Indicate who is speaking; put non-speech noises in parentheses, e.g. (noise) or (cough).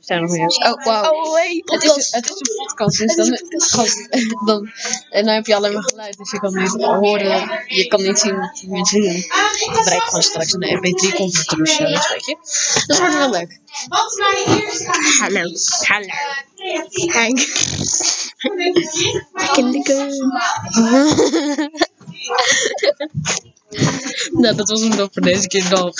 Speaker 1: zijn er nog meer. Oh, wauw.
Speaker 2: Oh, wait.
Speaker 1: Het is, het is een podcast, dus dan, gast, dan, (laughs) en dan heb je alleen maar geluid, dus je kan niet horen, je kan niet zien wat die mensen doen.
Speaker 2: Ehm,
Speaker 1: Ik bereik gewoon straks een E MP3-converter of zo, dus weet je. Dat wordt wel leuk.
Speaker 2: Wat is mijn eerste eh,
Speaker 3: Hallo. Hallo.
Speaker 2: creatief? (laughs)
Speaker 3: Henk.
Speaker 1: (laughs)
Speaker 3: Kinderke.
Speaker 1: nou, dat was hem dan voor deze keer dan.